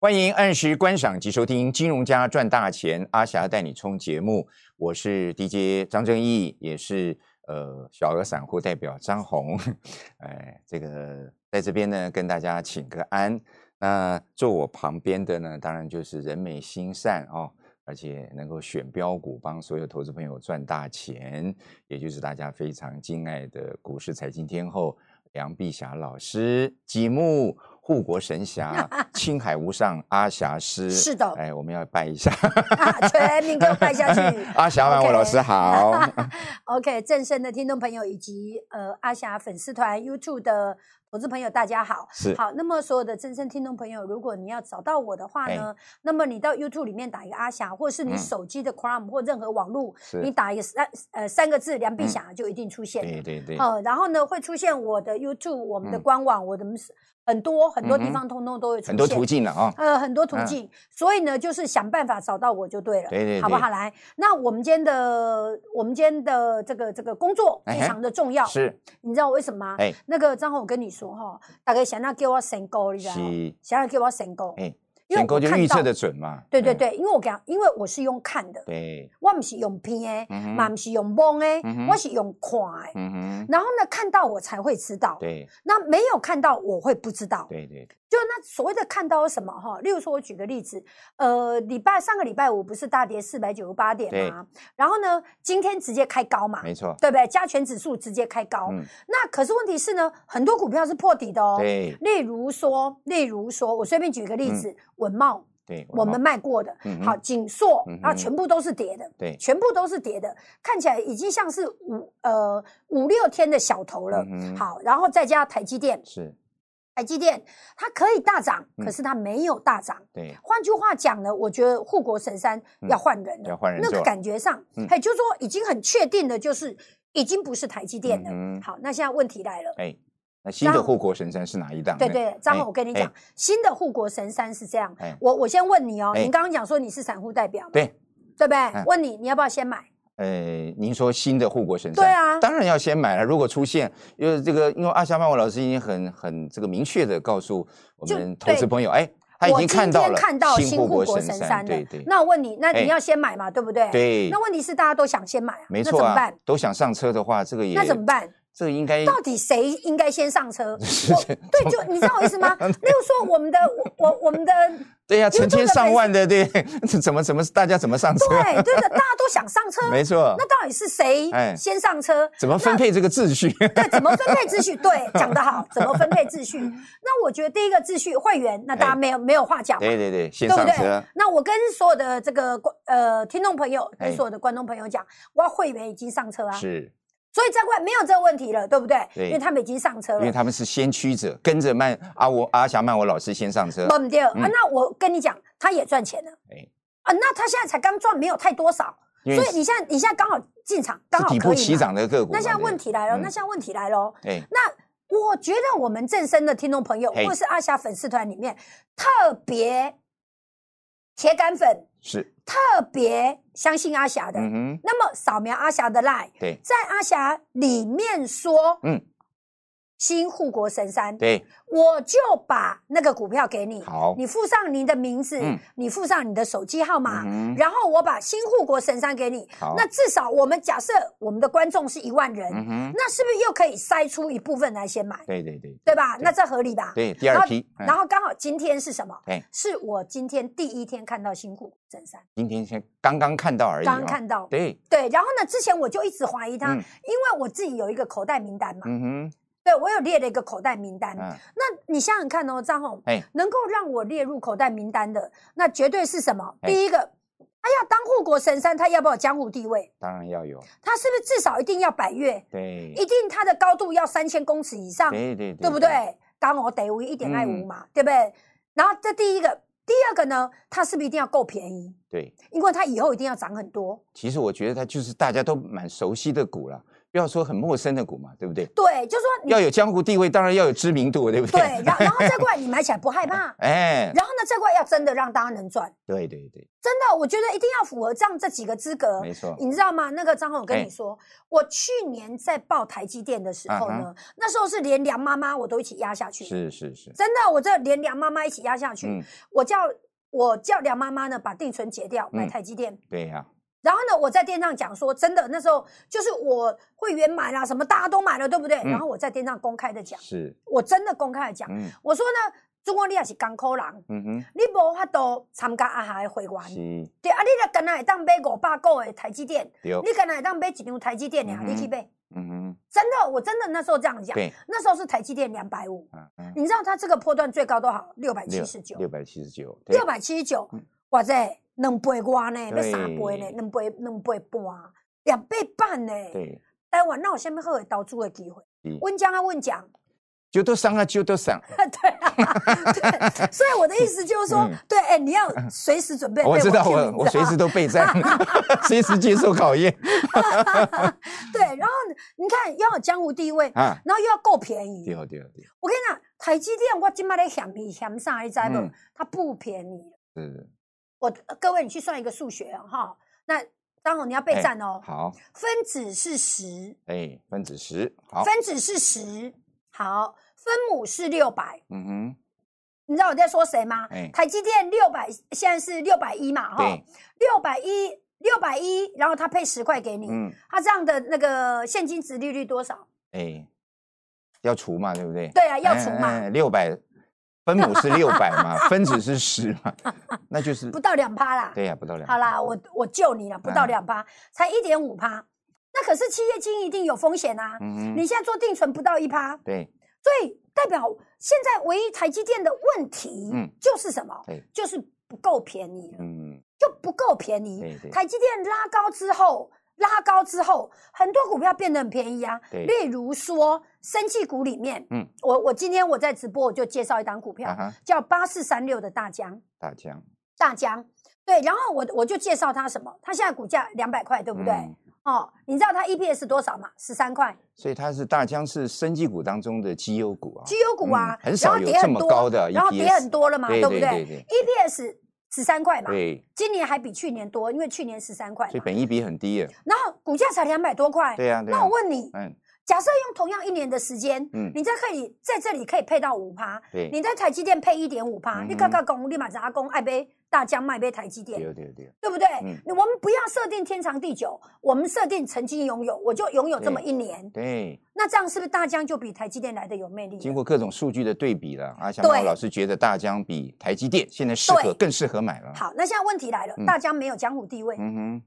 欢迎按时观赏及收听《金融家赚大钱》，阿霞带你冲节目，我是 DJ 张正义，也是呃小额散户代表张红。哎，这个在这边呢跟大家请个安。那坐我旁边的呢，当然就是人美心善哦，而且能够选标股，帮所有投资朋友赚大钱，也就是大家非常敬爱的股市财经天后梁碧霞老师，吉木。护国神 侠、青海无上阿霞师，是的哎，我们要拜一下，。啊，全民给我拜下去 阿霞万我老师 OK 好， OK，正声的听众朋友以及呃阿霞粉丝团 YouTube 的投资朋友，大家 好。是好，那么所有的正声听众朋友，如果你要找到我的话呢，那么你到 YouTube 里面打一个阿霞，或是哎嗯你手机的 Chrome 或任何网络，你是，打一个三呃三个字梁碧霞就一定出现。嗯对对对，哦，然后呢，会出现我的 YouTube、我们的嗯官网、我的很多很多嗯地哼方，通通都会出现。很多途径了啊，呃，很多途嗯径，所以呢，就是想办法找到我就对了，对对好不对好？来，那我们今天的我们今天的这个这个工作哎非嘿常的重要，是，你知道为什么吗？哎那个张宏，我跟你说哈，大概想要给我神勾，你知道吗？是，想要给我神勾，哎，啊因为选我购就看预测到的准嘛，对对嗯，对，因为我讲，因为我是用看的，对，我不是用听的，嗯嘛哼不是用蒙的嗯哼，我是用看的。嗯哼，然后呢，看到我才会知道，对那没有看到我会不知道。对对，就那所谓的看到什么哈，例如说，我举个例子，呃，礼拜上个礼拜五不是大跌四百九十八点吗？然后呢，今天直接开高嘛，没错，对不对？加权指数直接开高。嗯，那可是问题是呢，很多股票是破底的哦。对例如说，例如说，我随便举一个例子，文茂对，我们好卖过的，嗯哼好，锦硕嗯哼啊，全部都是跌的，对，全部都是跌的，看起来已经像是五呃五六天的小头了。嗯哼好，然后再加台积电，是，台积电它可以大涨，嗯可是它没有大涨。对，换句话讲呢，我觉得护国神山嗯要换人了，要换人那做个感觉上嗯，嘿，就是说已经很确定的，就是已经不是台积电了。嗯哼好，那现在问题来了。哎，那新的张护国神山是哪一档呢？对对，张哎宏，我跟你哎讲，新的护国神山是这样哎。我我先问你哦，哎你刚刚讲说你是散户代表嘛，对，哎对不对？问你，你要不要先买？呃，您说新的护国神山，对啊当然要先买了。如果出现，因为这个，因为阿霞曼我老师已经很很这个明确的告诉我就们投对资朋友，哎，他已我经今看到天了看到新新护护国国神神山，山对了对。那我问你，那哎你要先买嘛，对不对？。对那，问题是大家都想先买啊，没那错怎么啊办？，都想上车的话，这个也那怎么办？这个应该到底谁应该先上车？是我对，就你知道我意 思吗？例如说我们的我我我们的对呀，成 YouTube 千的上粉万的对， 这怎么怎么大家怎么上车？对对的，大家都想上车，啊没错，啊那到底是谁哎先上车？怎么分配这个秩 序？对，怎么分配秩序？对，讲得好，怎么分配 秩序？那我觉得第一个秩序会员，那大哎家没有没有话讲嘛，对对对，先对不上对车，？那我跟所有的这个观呃听众朋友，哎跟所有的观众朋友讲，我要会员已经上车啊，是所以这块没有这个问题了，对不对？对因为他们已经上车因为了。他们是先驱者，跟着曼阿我阿霞曼我老师先上车，不对、啊，那我跟你讲，他也赚钱了。嗯哎啊，那他现在才刚赚没有太多少，因所为以你现在你现在刚好进场，刚是好底可部以起嘛。涨的个股嘛。那现在问对题来了，嗯那现在问题来了，哦哎，那我觉得我们正身的听众朋友，嘿或是阿霞粉丝团里面，特别铁杆粉，是，特别相信阿霞的，嗯哼，那么扫描阿霞的 line，对在阿霞里面说，嗯嗯，新护国神山，对，我就把那个股票给你，好你附上你的名字，嗯你附上你的手机号码，嗯哼然后我把新护国神山给你。好那至少我们假设我们的观众是一万人，嗯哼，那是不是又可以筛出一部分来先买，对对对对吧？那这合理吧？对，第二批，然嗯后刚好今天是什么哎？是我今天第一天看到新护国神山，今天先刚刚看到而已，哦刚刚，看到。对，对，然后呢？之前我就一直怀疑它，嗯因为我自己有一个口袋名单嘛，嗯哼，对我有列了一个口袋名单。嗯，那你想想看哦，张红，哎，能够让我列入口袋名单的，那绝对是什么？哎第一个，哎呀，当护国神山，他要不要有江湖地位？当然要有，他是不是至少一定要百哎越？对，一定它的高度要三千公尺以上，对哎对对不？对？刚我得五一点二五嗯嘛，对不对？然后这第一个，第二个呢，它是不是一定要够便宜？对，因为它以后一定要涨很多。其实我觉得它就是大家都蛮熟悉的股了。不要说很陌生的股嘛，对不对？对，就说你要有江湖地位，当然要有知名度，对不对？对，然然后这块你买起来不害怕， 哎，然后呢这块要真的让大家能赚，对对对，真的我觉得一定要符合这样这几个资格，没错。你知道吗？那个张宏，我跟你说，我去年在报台积电的时候呢，那时候是连梁妈妈我都一起压下去，啊是是是，真的，我这连梁妈妈一起压下去，嗯我叫我叫梁妈妈呢把定存结掉，买嗯台积电。对呀，然后呢，我在店上讲说，真的那时候就是我会员买了什么，大家都买了，对不对？嗯然后我在店上公开的讲，是，我真的公开的讲，嗯我说呢，中国你也是港口人，嗯哼，你无法度参加阿霞的会员，是，对啊，你若敢若会当买五百股的台积电，有，你敢若会当买一张台积电呀，哦嗯哼你去买，嗯哼，真的，我真的那时候这样讲，对，那时候是台积电两百五，嗯嗯，你知道它这个波段最高多少？六百七十九，六百七十九，对六百七十九嗯，哇塞，两倍外呢，要对三倍呢，两倍两倍半，两倍半呢。对，台湾那有啥物好的投资的机会是？温江啊，温江， 就都上啊，就都上，对 啊，对。所以我的意思就是说嗯，对，哎，你要随时准备被 cue。 我知道，我你我知随道时都备 战， 随时接受考验对。然后你看，要有江湖地位， 啊，然后又要够便宜对。对对，我跟你讲，台积电我今麦在嫌伊嫌啥，你知不嗯？它不便宜。是，我各位，你去算一个数学哦哈。那张红你要备哎战哦。好，分子是十，哎，分子十，好，分子是十，好，分母是六百。嗯哼，你知道我在说谁吗？哎台积电六百，现在是六百一嘛，哈对，，六百一，六百一，然后他配十块给你，嗯，他这样的那个现金值利率多少？哎，要除嘛，对不对？对啊，要除嘛，六百。分母是六百 嘛，分子是十嘛，那就是不到两趴啦。对呀，不到两。好啦，我我救你了，不到哎两趴，才一点五趴。那可是企业经营一定有风险啊，嗯哼，你现在做定存不到一趴，对，所以代表现在唯一台积电的问题，嗯就是什么？对就是不够便宜了，嗯，就不够便宜。对对台积电拉高之后，拉高之后，很多股票变得很便宜啊。对例如说，生技股里面，嗯，我我今天我在直播我就介绍一档股票，啊哈，叫八四三六的大疆，大疆，大疆。对，然后我我就介绍它什么，它现在股价两百块，对不对？嗯哦哦，你知道它 EPS 多少吗？十三块，所以它是大疆是生技股当中的绩优股啊，绩优股啊嗯，很然少后有跌这很么多，高的 EPS，然后跌很多了嘛，对不对对对 EPS 十三块嘛，对，今年还比去年多，因为去年十三块所以嘛，本益比很低耶，然后股价才两百多块。对呀啊对呀哎那我，问你，嗯假设用同样一年的时间，嗯你在可以在这里可以配到五趴，对，你在台积电配一点五趴，嗯哼你刚刚讲立马砸工爱杯大疆卖杯台积电，哦对对对，对不对？嗯我们不要设定天长地久，我们设定曾经拥有，我就拥有这么一年。对，那这样是不是大疆就比台积电来的有魅力了？经过各种数据的对比了，阿翔对猫老师觉得大疆比台积电现在适合对更适合买了，好，那现在问题来了，嗯大疆没有江湖地位，嗯哼，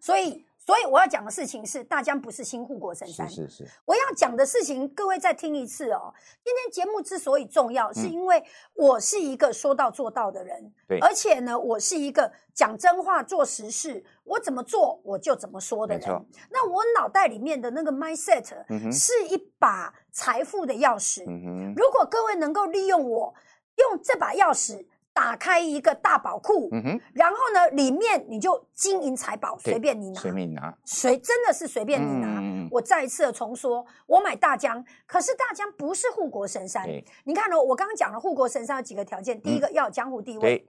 所以所以我要讲的事情是，大疆不是新护国神山。是是是，我要讲的事情，各位再听一次哦。今天节目之所以重要，是因为我是一个说到做到的人，嗯对而且呢，我是一个讲真话、做实事，我怎么做我就怎么说的没错人。那我脑袋里面的那个 mindset 嗯哼是一把财富的钥匙，嗯哼，如果各位能够利用我用这把钥匙打开一个大宝库，嗯哼，然后呢，里面你就金银财宝对随便你拿，随便拿，随真的是随便你拿。嗯嗯嗯我再一次的重说，我买大疆，可是大疆不是护国神山。对嗯你看哦，我刚刚讲了护国神山有几个条件，第一个要有江湖地位，对，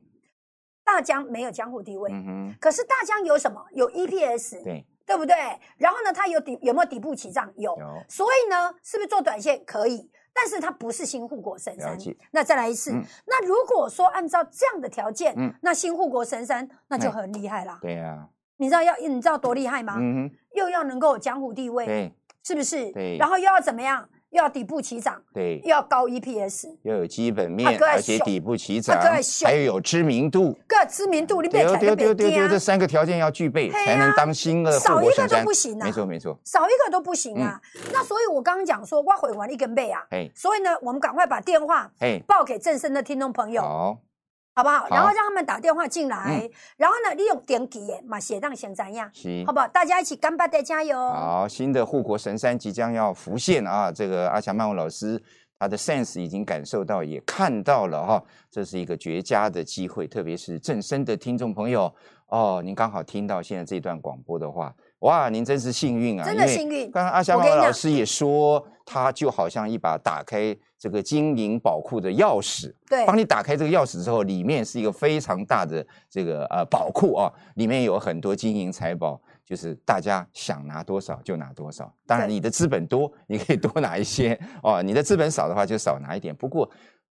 大疆没有江湖地位。嗯哼，可是大疆有什么？有 EPS，对，对不对？然后呢，它有底有没有底部起涨？有。有，所以呢，是不是做短线可以？但是它不是新护国神山了解。那再来一次，嗯那如果说按照这样的条件，嗯那新护国神山那就很厉害啦。对呀，你知道要你知道多厉害吗？嗯哼，又要能够有江湖地位，对是不是？对然后又要怎么样？又要底部起涨，对又。要高 E EPS，又有基本啊面，各位而且秀底部起涨各位，秀还有有知名度，各知名度你变哦起来就变低这啊，三个条件要具备，嘿呀才能当新的护少一国个神都山不。行啊没，错没嗯错，少一个都不行啊。那所以我刚刚讲说，我毁完一根背啊，嘿所以呢，我们赶快把电话嘿，报给正声的听众朋友。好，好不好？然后好嗯让他们打电话进来，然后呢，利用点击耶，嘛写当先怎样，行好。不好？大家一起干巴的加油！好，新的护国神山即将要浮现啊！这个阿强曼文老师他的 sense 已经感受到，也看到了哈、这是一个绝佳的机会，特别是正声的听众朋友哦，您刚好听到现在这段广播的话，哇，您真是幸运啊！真因的为幸运刚刚阿霞我妈跟你老讲师也说，他就好像一把打开这个金银宝库的钥匙，对当你打开这个钥匙之后，里面是一个非常大的这个呃宝库啊，里面有很多金银财宝，就是大家想拿多少就拿多少。当然，对你的资本多，你可以多拿一些哦； 你的资本少的话，就少拿一点。不过，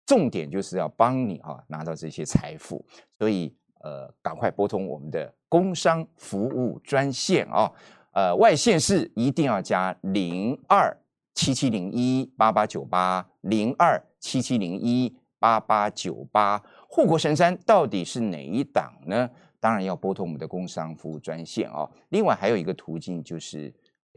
重点就是要帮你啊拿到这些财富，所以呃，赶快拨通我们的工商服务专线啊。呃，外县市一定要加零二七七零一八八九八零二七七零一八八九八。护国神山到底是哪一档呢？当然要拨通我们的工商服务专线哦。另外还有一个途径就是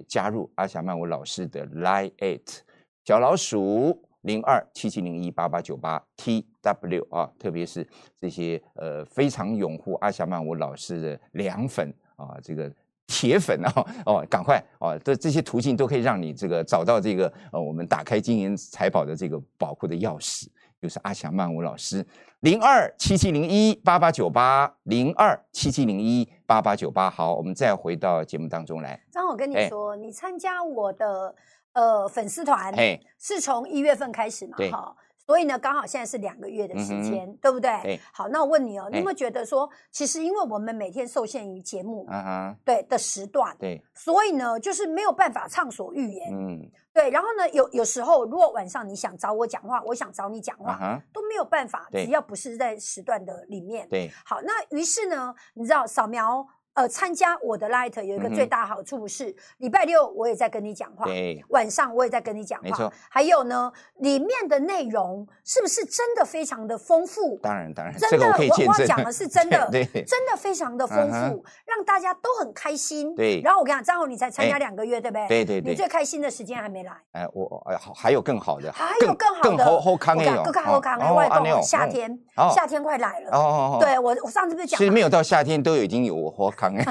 加入阿霞曼舞老师的 Line It 小老鼠零二七七零一八八九八 T W 啊，特别是这些呃非常拥护阿霞曼舞老师的凉粉啊，这个。铁粉啊，哦，赶快啊！这这些途径都可以让你这个找到这个呃，我们打开金银财宝的这个宝库的钥匙。就是阿翔曼舞老师，零二七七零一八八九八，零二七七零一八八九八。好，我们再回到节目当中来。张，我跟你哎说，你参加我的呃粉丝团，嘿，是从一月份开始嘛对，哈。所以呢，刚好现在是两个月的时间，嗯对不对？对好，那我问你哦，你哎有没有觉得说，其实因为我们每天受限于节目、啊哈，对的时段，对，所以呢，就是没有办法畅所欲言。嗯，对，然后呢，有有时候如果晚上你想找我讲话，我想找你讲话、啊哈，都没有办法，对只要不是在时段的里面。对，好，那于是呢，你知道扫描呃参加我的 Light 有一个嗯哼最大好处是，礼拜六我也在跟你讲话，对，晚上我也在跟你讲没话错，还有呢，里面的内容是不是真的非常的丰富？当然，当然，真这个的，我可以见我证。 讲的是真的，对对真的非常的丰嗯富，让大家都很开心。对然后我跟你讲，张宏你才参哎加两个月，对不对？对对你对，最开心的时间还没来，哎，我哎好，还有更好的，还有更好更的，好好康我的讲哦，更好康的，哦外安内哦公夏嗯天哦，夏天快来了。哦哦哦，对我，我上次不是其讲实吗没有到夏天都已经有好 康了。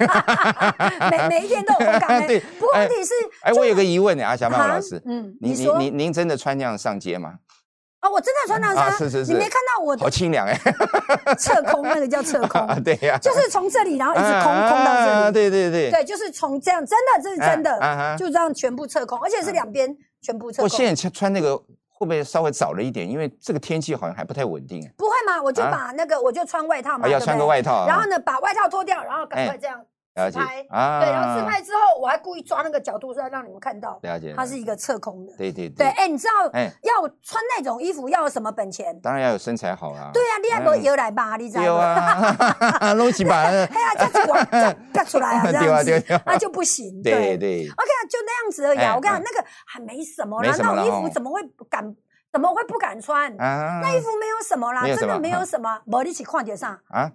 每每一天都有红感对恩。不过哎问题是，哎，就我有个疑问呢，阿霞曼哈舞老师，嗯，您你说您您您真的穿那样上街吗？啊，我真的穿那啊衫，是是是你没看到我好清凉哎，侧空，那个叫侧空，对呀，就是从这里，然后一直空啊空到这里，对对对，对，就是从这样，真的这是真啊啊哈的，就这样全部侧空，而且是两边全部侧我空。现在穿那个会不会稍微早了一点？因为这个天气好像还不太稳定哎，不会嘛？我就啊把那个，我就穿外套嘛，啊对要不穿个对外套啊。然后呢，把外套脱掉，然后赶哎快这样了自解拍，啊对，然后自拍之后，我还故意抓那个角度出来让你们看到，了解，它了是解一个侧空的。对对对，哎，你知道哎要穿那种衣服要有什么本钱？当然要有身材好啊。对啊，你也无嗯摇来吧，你知道对吗？ 啊， 弄起吧。哎呀，这样子往这样 拔出来啊，这对啊样对啊子对啊那就不行。对 OK 对，啊，就那样子而已啊。哎我跟你讲，哎那个还没什么没啦，什么那啦种衣服哦怎么会不敢？怎么会不敢穿？啊那衣服没有什么啦，没有什真么嗯的没哈有什么。无你去看点啥？啊，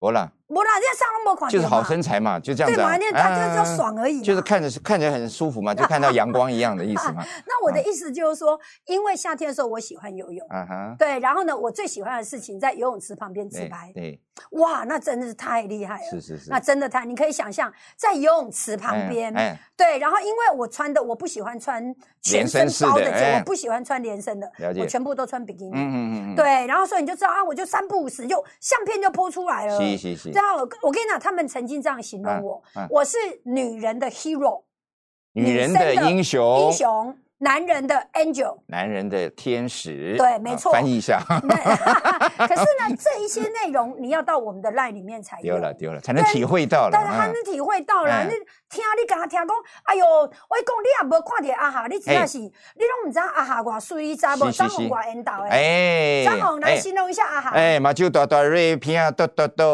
我啦，无啦，人家上都没看到就是好嘛身材嘛，就这样对子啊。嘛？那他就是要啊爽而已。就是。看着看着很舒服嘛，就看到阳光一样的意思 嘛。那我的意思就是说，因为夏天的时候我喜欢游泳，啊哈，对，然后呢，我最喜欢的事情在游泳池旁边自对拍，对，哇，那真的是太厉害了哎是。是是那。真的太，你可以想象在游泳池旁边，哎，对，然后因为我穿的我不喜欢穿全身包连身式的的，哎我不喜欢穿连身的了，解我全部都穿比基嗯尼。嗯嗯嗯，对，然后所以你就知道啊，我就三不五时就相片就剖出来了。是是是，然后我跟你讲，他们曾经这样形容我，啊啊我是女人的 hero 女人的英雄，英雄，男人的 angel。 男人的天使，对没啊错翻译一下，那 可是呢，这一些内容你要到我们的 line 里面才有丢。了丢了，才能体会到了。但是他啊能体会到啦，嗯你听你甲他听讲，哎哟，我讲你也无看着阿哈，你真嘿的是，你拢毋知阿哈偌水，查无哎是是张是红偌缘投哎，诶。张红来哎形容一下阿哈，哎，哎，马睭大大瑞，鼻啊嘟嘟嘟，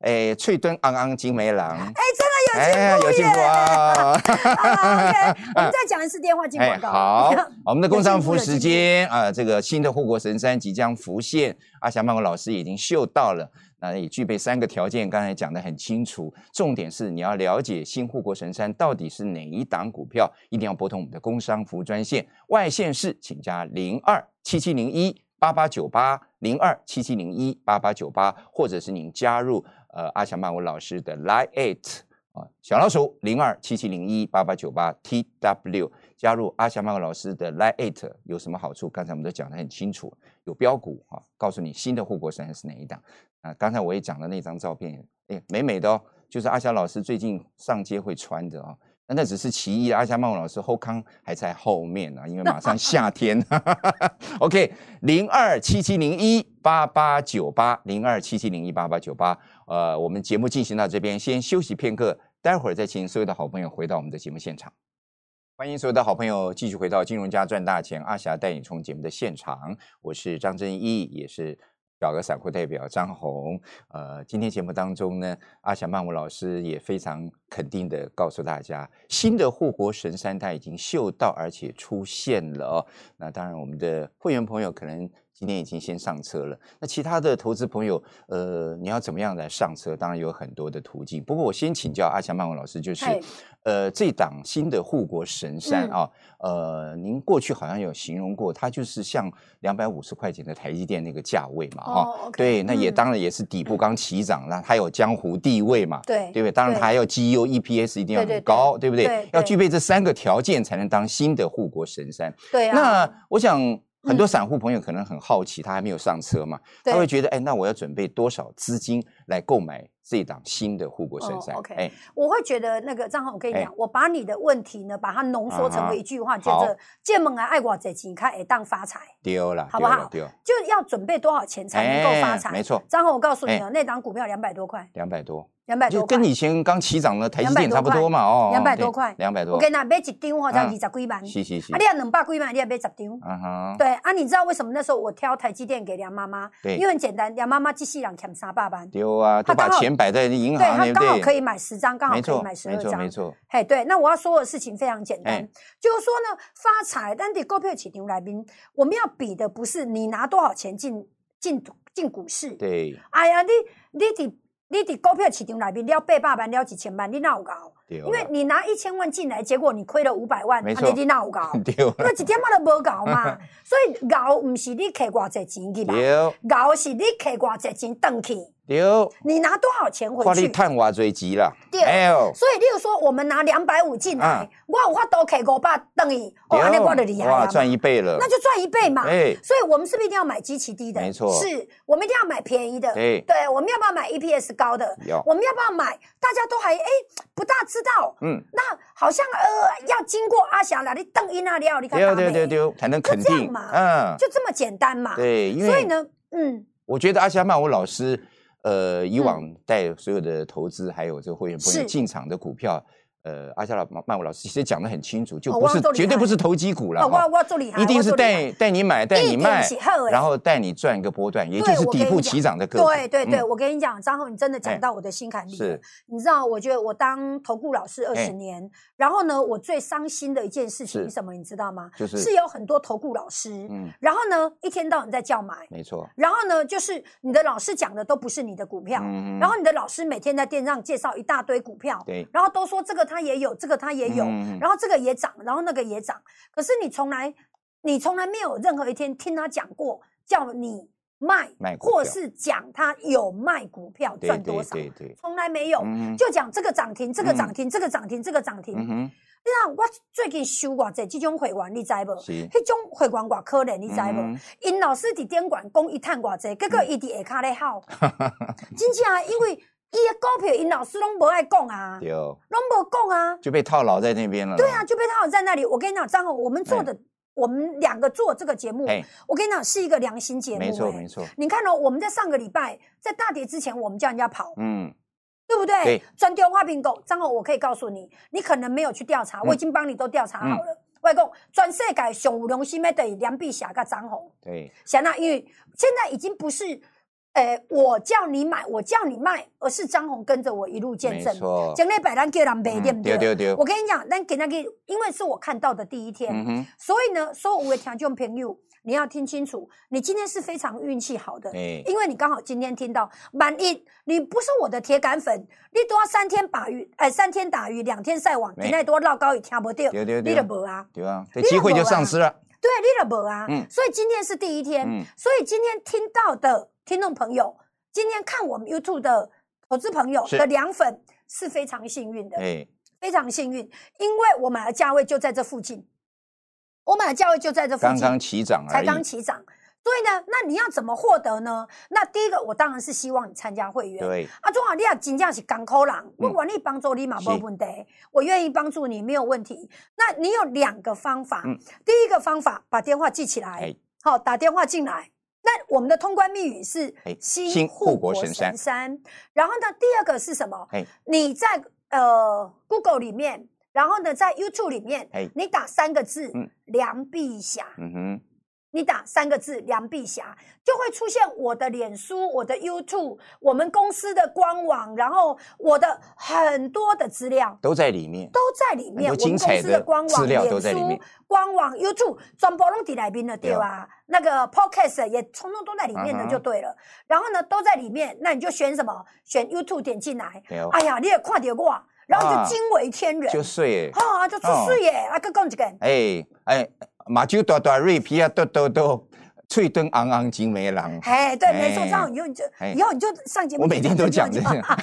哎，嘴唇昂昂金梅郎，哎真的有哎有进进步步耶！啊！ 嗯啊 OK，我们再讲一次电话进广告。，哎好 我们的工商服务有进步时间啊、这个啊新的护国神山即将浮现，阿霞曼谷老师已经嗅到了。那啊也具备三个条件，刚才讲的很清楚。重点是你要了解新护国神山到底是哪一档股票，一定要拨通我们的工商服务专线。外线是请加零二七七零一八八九八零二七七零一八八九八，或者是您加入呃阿霞曼谷老师的 Line It 啊，小老鼠零二七七零一八八九八 T W 加入阿霞曼克老师的 Line It 有什么好处？刚才我们都讲得很清楚，有标股啊，告诉你新的护国神是哪一档啊。刚才我也讲了那张照片，哎，美美的哦，就是阿霞老师最近上街会穿的哦。那那只是其一，阿霞曼老师后康还在后面呢、啊，因为马上夏天。OK，零二七七零一八八九八，零二七七零一八八九八。呃，我们节目进行到这边，先休息片刻，待会儿再请所有的好朋友回到我们的节目现场。欢迎所有的好朋友继续回到《金融家赚大钱》，阿霞带你冲节目的现场，我是张正义，也是。小额散户代表张红，呃，今天节目当中呢，阿霞曼舞老师也非常肯定的告诉大家，新的护国神山它已经嗅到，而且出现了哦。那当然，我们的会员朋友可能今天已经先上车了。那其他的投资朋友，呃，你要怎么样来上车？当然有很多的途径。不过我先请教阿霞曼舞老师，就是，呃，这档新的护国神山啊，嗯、呃，您过去好像有形容过，它就是像两百五十块钱的台积电那个价位嘛。哈、哦，OK，对，那也嗯当然也是底部刚起涨，那它有江湖地位嘛，对对不对？当然它还要 E GEO、EPS 一定要对对很高，对对不对？对对要具备这三个条件才能当新的护国神山。对啊，那我想很多散户朋友可能很好奇，他还没有上车嘛，对他会觉得，哎，那我要准备多少资金来购买这档新的护国神山哦？OK 哎，我会觉得那个张宏，我跟你讲哎，我把你的问题呢，把它浓缩成为一句话，啊哈就好是见门而爱我者情，看也当发财，丢了，好不丢好了，丢了，哎就要准备多少钱才能够发财？没错，张宏，我告诉你哦，那档股票两百多块，两百多，两百哎就多块跟。以前刚起涨的台积200电差不多嘛，哦， 200多块两百多我，跟你讲，买一张或嗯者二十几万，嘻嘻嘻啊，，你要两百几万，你也买十张。啊哈，对啊，你知道为什么那时候我挑台积电给梁妈妈？对因为很简单，梁妈妈机器人欠三百万，对丢啊，他都把刚好钱摆在银行，她对不刚好对？可以买十张，刚好没可以错，买十没二错，没张。错，嘿，对，那我要说的事情非常简单，哎就是说呢，发财，但得购票起牛来宾，我们要比的不是你拿多少钱进进进股市，对哎呀，你你伫你伫股票市场内面了八百万了一千万，你哪有搞？对了，因为你拿一千万进来，结果你亏了五百万，没错安尼你哪有搞？ 对因了，为一点仔都无 搞嘛，所以搞毋是你摕偌济钱去嘛，丢搞是你摕偌济钱转去，丢，你拿多少钱回看你去？探偌最急了，对呦，所以，例如说，我们拿两百五进来，啊我有法多摕五百等于，哦，安尼我就厉害哇，了嘛，赚一倍了，那就赚一倍嘛。哎，所以我们是不是一定要买极其低的？没错是我们一定要买便宜的。对我们要不要买 EPS 高的？要，我们要不要买？大家都还哎不大知道，嗯，那好像呃要经过阿霞哪里邓英那里奥，你看丢丢丢丢，才能肯就这样定，嘛嗯，就这么简单嘛。，对，因所以为呢，嗯，我觉得阿霞曼舞老师，呃，以往带所有的投资还有这个会员朋友是进场的股票，呃，阿霞老曼舞老师其实讲的很清楚，就哦不哇是都厉绝对害不是投机股了哦，哈我。我做厉害，一定我是做厉害带带你买，带你一定卖是好的，然后带你赚一个波段，也就对是我底跟部你起讲涨的个股。哎对对对，嗯我跟你讲，张宏，你真的哎讲到我的心坎里了是。你知道，我觉得我当投顾老师二哎十年，然后呢，我最伤心的一件事情是是什么？你知道吗？就是是有很多投顾老师，嗯，然后呢，一天到晚在叫买，没错。然后呢，就是你的老师讲的都不是你的股票，嗯然后你的老师每天在店上介绍一大堆股票，对然后都说这个他也有，这个他也有，嗯嗯嗯然后这个也涨，然后那个也涨，可是你从来你从来没有任何一天听他讲过叫你卖，卖股票或是讲他有卖股票对赚多对少，对对，从来没有。嗯哼就讲这个涨停，这个涨停，这个涨停，这个涨停。嗯哼，你看我最近收偌济这种会员，你知无？是迄种会员偌可怜，你知无？嗯因老师伫顶管讲伊趁偌济，结果伊伫下骹咧 吼，真正啊，因为伊的股票因老师拢无爱讲啊，对嗯哦，拢无讲啊，就被套牢在那边了。对啊，，就被他好在那里。我跟你讲，张宏，我们嗯做的，我们两个做这个节目，哎，我跟你讲是一个良心节目、没错哎没错，你看哦，我们在上个礼拜在大跌之前，我们叫人家跑，嗯，对不对？对专丢花瓶狗，张宏，我可以告诉你，你可能没有去调查，嗯我已经帮你都调查好了。外公，全世界上有良心的就是梁碧霞跟张宏。对，想那，因为现在已经不是，呃，我叫你买，我叫你卖，而是张红跟着我一路见没证。错，将来百咱叫人卖，对不嗯对对？对对，我跟你讲，咱给那个，因为是我看到的第一天，嗯哼，所以呢，所有的听众朋友，你要听清楚，你今天是非常运气好的，哎，因为你刚好今天听到，万一你不是我的铁杆粉，你都要三天把鱼，哎、三天打鱼两天晒网，没今天多绕高也听不到，对对你对就无啊。对啊，这你机会怎么就了丧失了。对，你就无啊。嗯所以今天是第一天，嗯所以今天听到的听众朋友，今天看我们 YouTube 的投资朋友是的凉粉，是非常幸运的，哎，非常幸运，因为我买的价位就在这附近，我买的价位就在这附刚近，刚起涨而才已，刚起涨。所以呢，那你要怎么获得呢？那第一个，我当然是希望你参加会员。对，嗯啊，中华你也真正是港口人，我愿意帮助你嘛，是没问题，我愿意帮助你没有问题。那你有两个方法，嗯第一个方法把电话记起来哎，好、打电话进来。那我们的通关密语是哎新新护护国国神神山。山然后呢，第二个是什么？哎你在呃 Google 里面，然后呢在 YouTube 里面哎，你打三个字嗯“梁碧霞”。嗯哼，你打三个字“梁碧霞”，就会出现我的脸书、我的 YouTube、我们公司的官网，然后我的很多的资料都在里面，都在里面。很多我们精公彩司的的官网、资料脸都在里面书、官网、YouTube，全部拢在里面的对对哦吧？那个 Podcast 也通通都在里面的嗯哼就对了。然后呢，都在里面，那你就选什么？选 YouTube 点进来。对哦哎呀，你也看点我，然后啊就惊为天人，就哦睡，啊，就出水耶！啊，再讲一个。哎哎，马酒大大，瑞皮啊，豆豆豆，脆墩昂昂，金梅郎。哎，对，没错，哎这样以后你就哎以后你就上节目，我每天都讲这这句个话，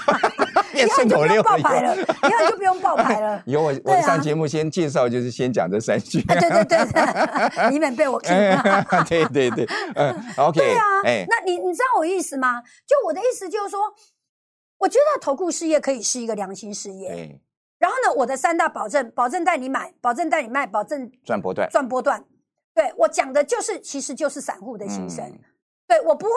以 也后顺你就口不溜用爆以后。牌了，以后你就不用爆牌了 有我对啊我上节目先介绍，就是先讲这三句。啊，对对对，以免被我听到。 哎对对对，嗯，OK，啊 对啊，哎，那你你知道我意思吗？就我的意思就是说，我觉得投顾事业可以是一个良心事业。哎，然后呢，我的三大保证：保证带你买，保证带你卖，保证赚波段，赚波段。对我讲的就是，其实就是散户的心声。嗯对我不会，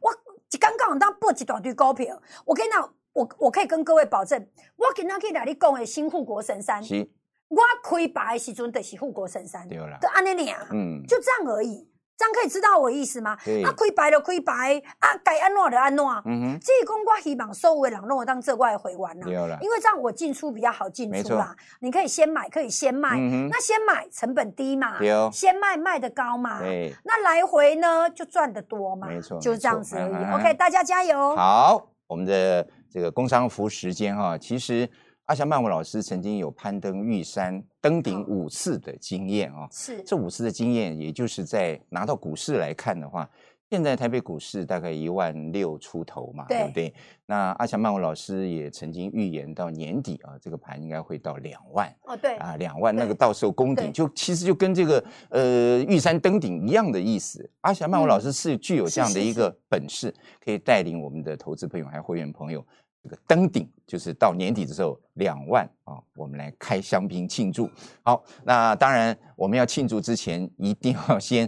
我刚刚当报一大堆股票，我跟你讲，我我可以跟各位保证，我今天可以来你讲的新护国神山，嗯是，我开牌的时阵就是护国神山，对就啦，安尼俩，嗯，就这样而已。这样可以知道我意思吗？对啊，开牌就开牌，啊，该安怎就安怎。嗯哼，这是讲我希望所有的人拢有当这我的会员啦，对啦，啊因为这样我进出比较好进没出错啦。你可以先买，可以先卖，嗯哼，那先买成本低嘛，对哦先卖卖的高嘛，对，那来回呢就赚得多嘛，没错就是没这样错子而已。嗯 OK，大家加油。好，我们的这个工商服时间哈、其实阿翔曼舞老师曾经有攀登玉山登顶好五次的经验啊、是这五次的经验，也就是在拿到股市来看的话，现在台北股市大概一万六出头嘛，对对不对？那阿强曼舞老师也曾经预言到年底啊，这个盘应该会到两万哦，对，啊，两万那对个到时候攻对顶，就其实就跟这个呃玉山登顶一样的意思。阿霞曼舞嗯老师是具有是这样的是一个本事，可以带领我们的投资朋友还有会员朋友。这个登顶就是到年底的时候两万啊，我们来开香槟庆祝。好，那当然我们要庆祝之前，一定要先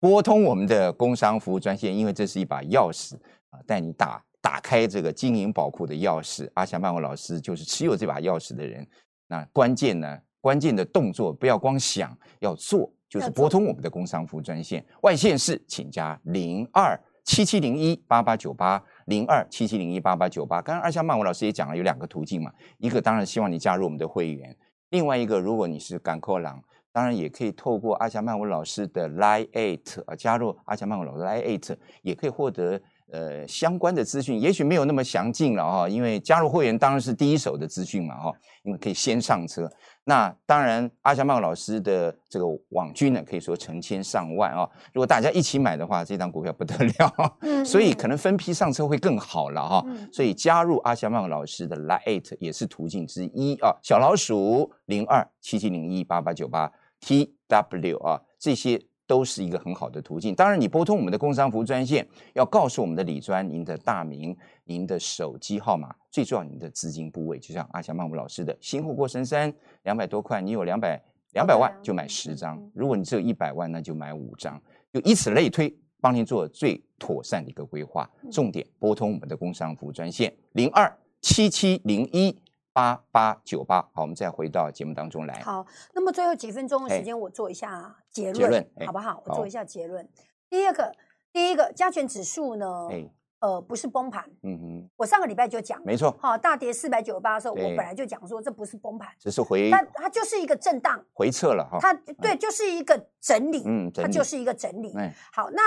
拨通我们的工商服务专线，因为这是一把钥匙啊，带你打打开这个金银宝库的钥匙。阿霞曼舞老师就是持有这把钥匙的人。那关键呢，关键的动作不要光想，要做，就是要做拨通我们的工商服务专线，外线是请加零二七七零一八八九八零二七七零一八八九八。刚刚二香曼舞老师也讲了，有两个途径嘛，一个当然希望你加入我们的会员，另外一个如果你是港口郎。当然也可以透过阿霞曼舞老师的 Line Eight 啊，加入阿霞曼舞老师 Line Eight，也可以获得呃相关的资讯，也许没有那么详尽了哈、因为加入会员当然是第一手的资讯嘛哈、因为可以先上车。那当然，阿翔曼老师的这个网军呢，可以说成千上万啊、如果大家一起买的话，这张股票不得了， 嗯所以可能分批上车会更好了哈、嗯所以加入阿翔曼老师的 Lite 也是途径之一啊。小老鼠零二七七零一八八九八 TW 啊，这些都是一个很好的途径。当然，你拨通我们的工商服务专线，要告诉我们的李专您的大名、您的手机号码，最重要您的资金部位。就像阿翔曼舞老师的新户过深山，两百多块，你有两百两百万就买十张嗯嗯，如果你只有一百万，那就买五张，就以此类推，帮您做最妥善的一个规划。嗯重点拨通我们的工商服务专线零二七七零一八八九八。好，我们再回到节目当中来。好，那么最后几分钟的时嘿间，我做一下结哎结论论，嘿好不好？我好做一下结论。第二个，第一个加权指数呢，哎，呃，不是崩盘。嗯哼，我上个礼拜就讲，没错，好，大跌四百九十八的时候，我对哎本来就讲说这不是崩盘，只是回但它就是一个震荡，回撤了哈。它对，就是一个整理，哦哎嗯，它整理就是一个整理。哎，好，那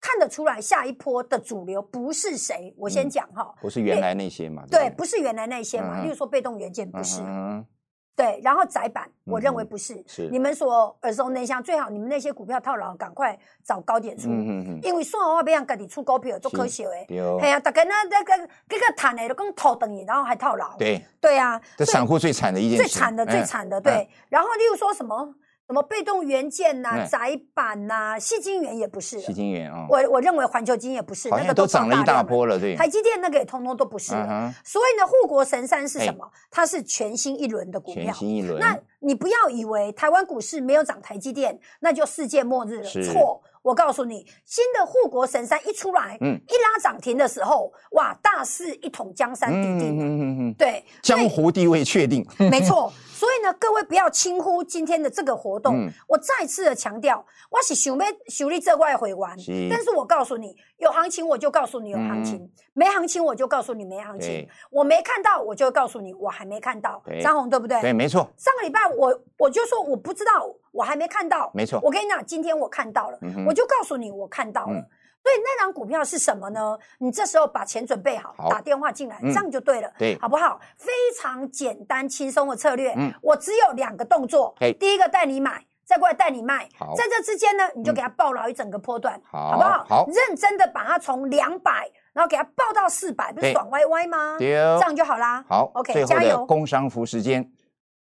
看得出来下一波的主流不是谁，我先嗯讲哈。不是原来那些嘛？对，不不是原来那些嘛，嗯嗯例如说被动元件不是，嗯哼对，然后窄板，我认为嗯哼不是。是你们所耳熟能详，最好你们那些股票套牢，赶快找高点出，嗯嗯嗯，因为算好我要让家己出股票做是可惜的。对嘿哦，啊，大家那那个这个谈的都讲头等你，然后还套牢。对，对啊，这所以散户最惨的一件事，最惨的嗯最惨的，对。然后例如说什么什么被动元件呐、嗯窄板呐、细晶圆也不是了西，金元啊，我我认为环球晶也不是，好那个像都放涨了一量大了，波了，对，台积电那个也通通都不是了。嗯哼，所以呢，护国神山是哎什么？它是全新一轮的股全票。新一轮，那你不要以为台湾股市没有涨台积电，那就世界末日了。是错，我告诉你，新的护国神山一出来，嗯一拉涨停的时候，哇，大势一统江山嗯底定。嗯嗯，对，江湖地位确定，没错。所以呢，各位不要轻忽今天的这个活动。嗯我再次的强调，我是想要修理这块回完是，但是我告诉你，有行情我就告诉你有行情，没行情我就告诉你没行情对。我没看到我就告诉你我还没看到对。张红对不对？对，没错，上个礼拜我我就说我不知道，我还没看到。没错我跟你讲，今天我看到了，嗯哼我就告诉你我看到了。嗯所以那张股票是什么呢？你这时候把钱准备好，好打电话进来，嗯这样就对了，对好不好？非常简单轻松的策略。嗯我只有两个动作嘿，第一个带你买，再过来带你卖好，在这之间呢，你就给它抱牢一整个波段，好不好？好认真的把它从两百，然后给它抱到四百，不是对爽歪歪吗？对哦这样就好啦。好 OK，最后加的油工商服时间，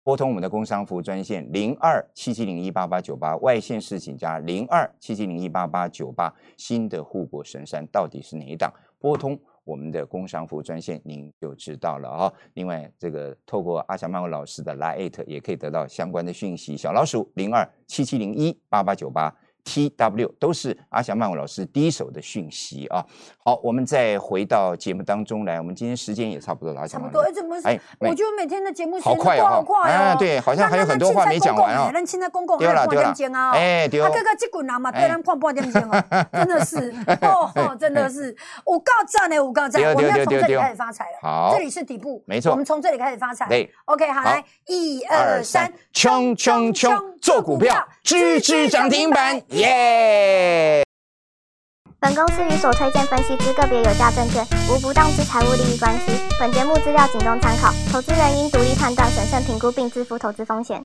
拨通我们的工商服专线零二七七零一八八九八，外线是请加零二七七零一八八九八。新的护国神山到底是哪一档？拨通我们的工商服专线，您就知道了啊、另外，这个透过阿翔曼文老师的 Line 也可以得到相关的讯息。小老鼠零二七七零一八八九八。T W 都是阿翔曼文老师第一手的讯息啊！好，我们再回到节目当中来，我们今天时间也差不多了，阿差翔不曼多，老师哎，怎么是？哎没我觉得每天的节目时好间快过哦，好快啊哦。对，好像还有很多话没讲完哦。咱凊彩讲讲，对咱啦凊彩对啦讲讲，还有半点钟啊！哎对哦啊，哥哥，这群人嘛，对哎咱看半点钟哦， 真 的是，哦吼，真的是，有够赞的，有够赞对！哦我们要对哦从对哦这里对哦开始发财了。好这里是底部，没错我们从这里开始发财。对，OK，好，好来，一二三，冲冲冲，做股票，支支涨停板，耶！本公司与所推荐分析之个别有价证券无不当之财务利益关系。本节目资料仅供参考，投资人应独立判断、审慎评估并自负投资风险。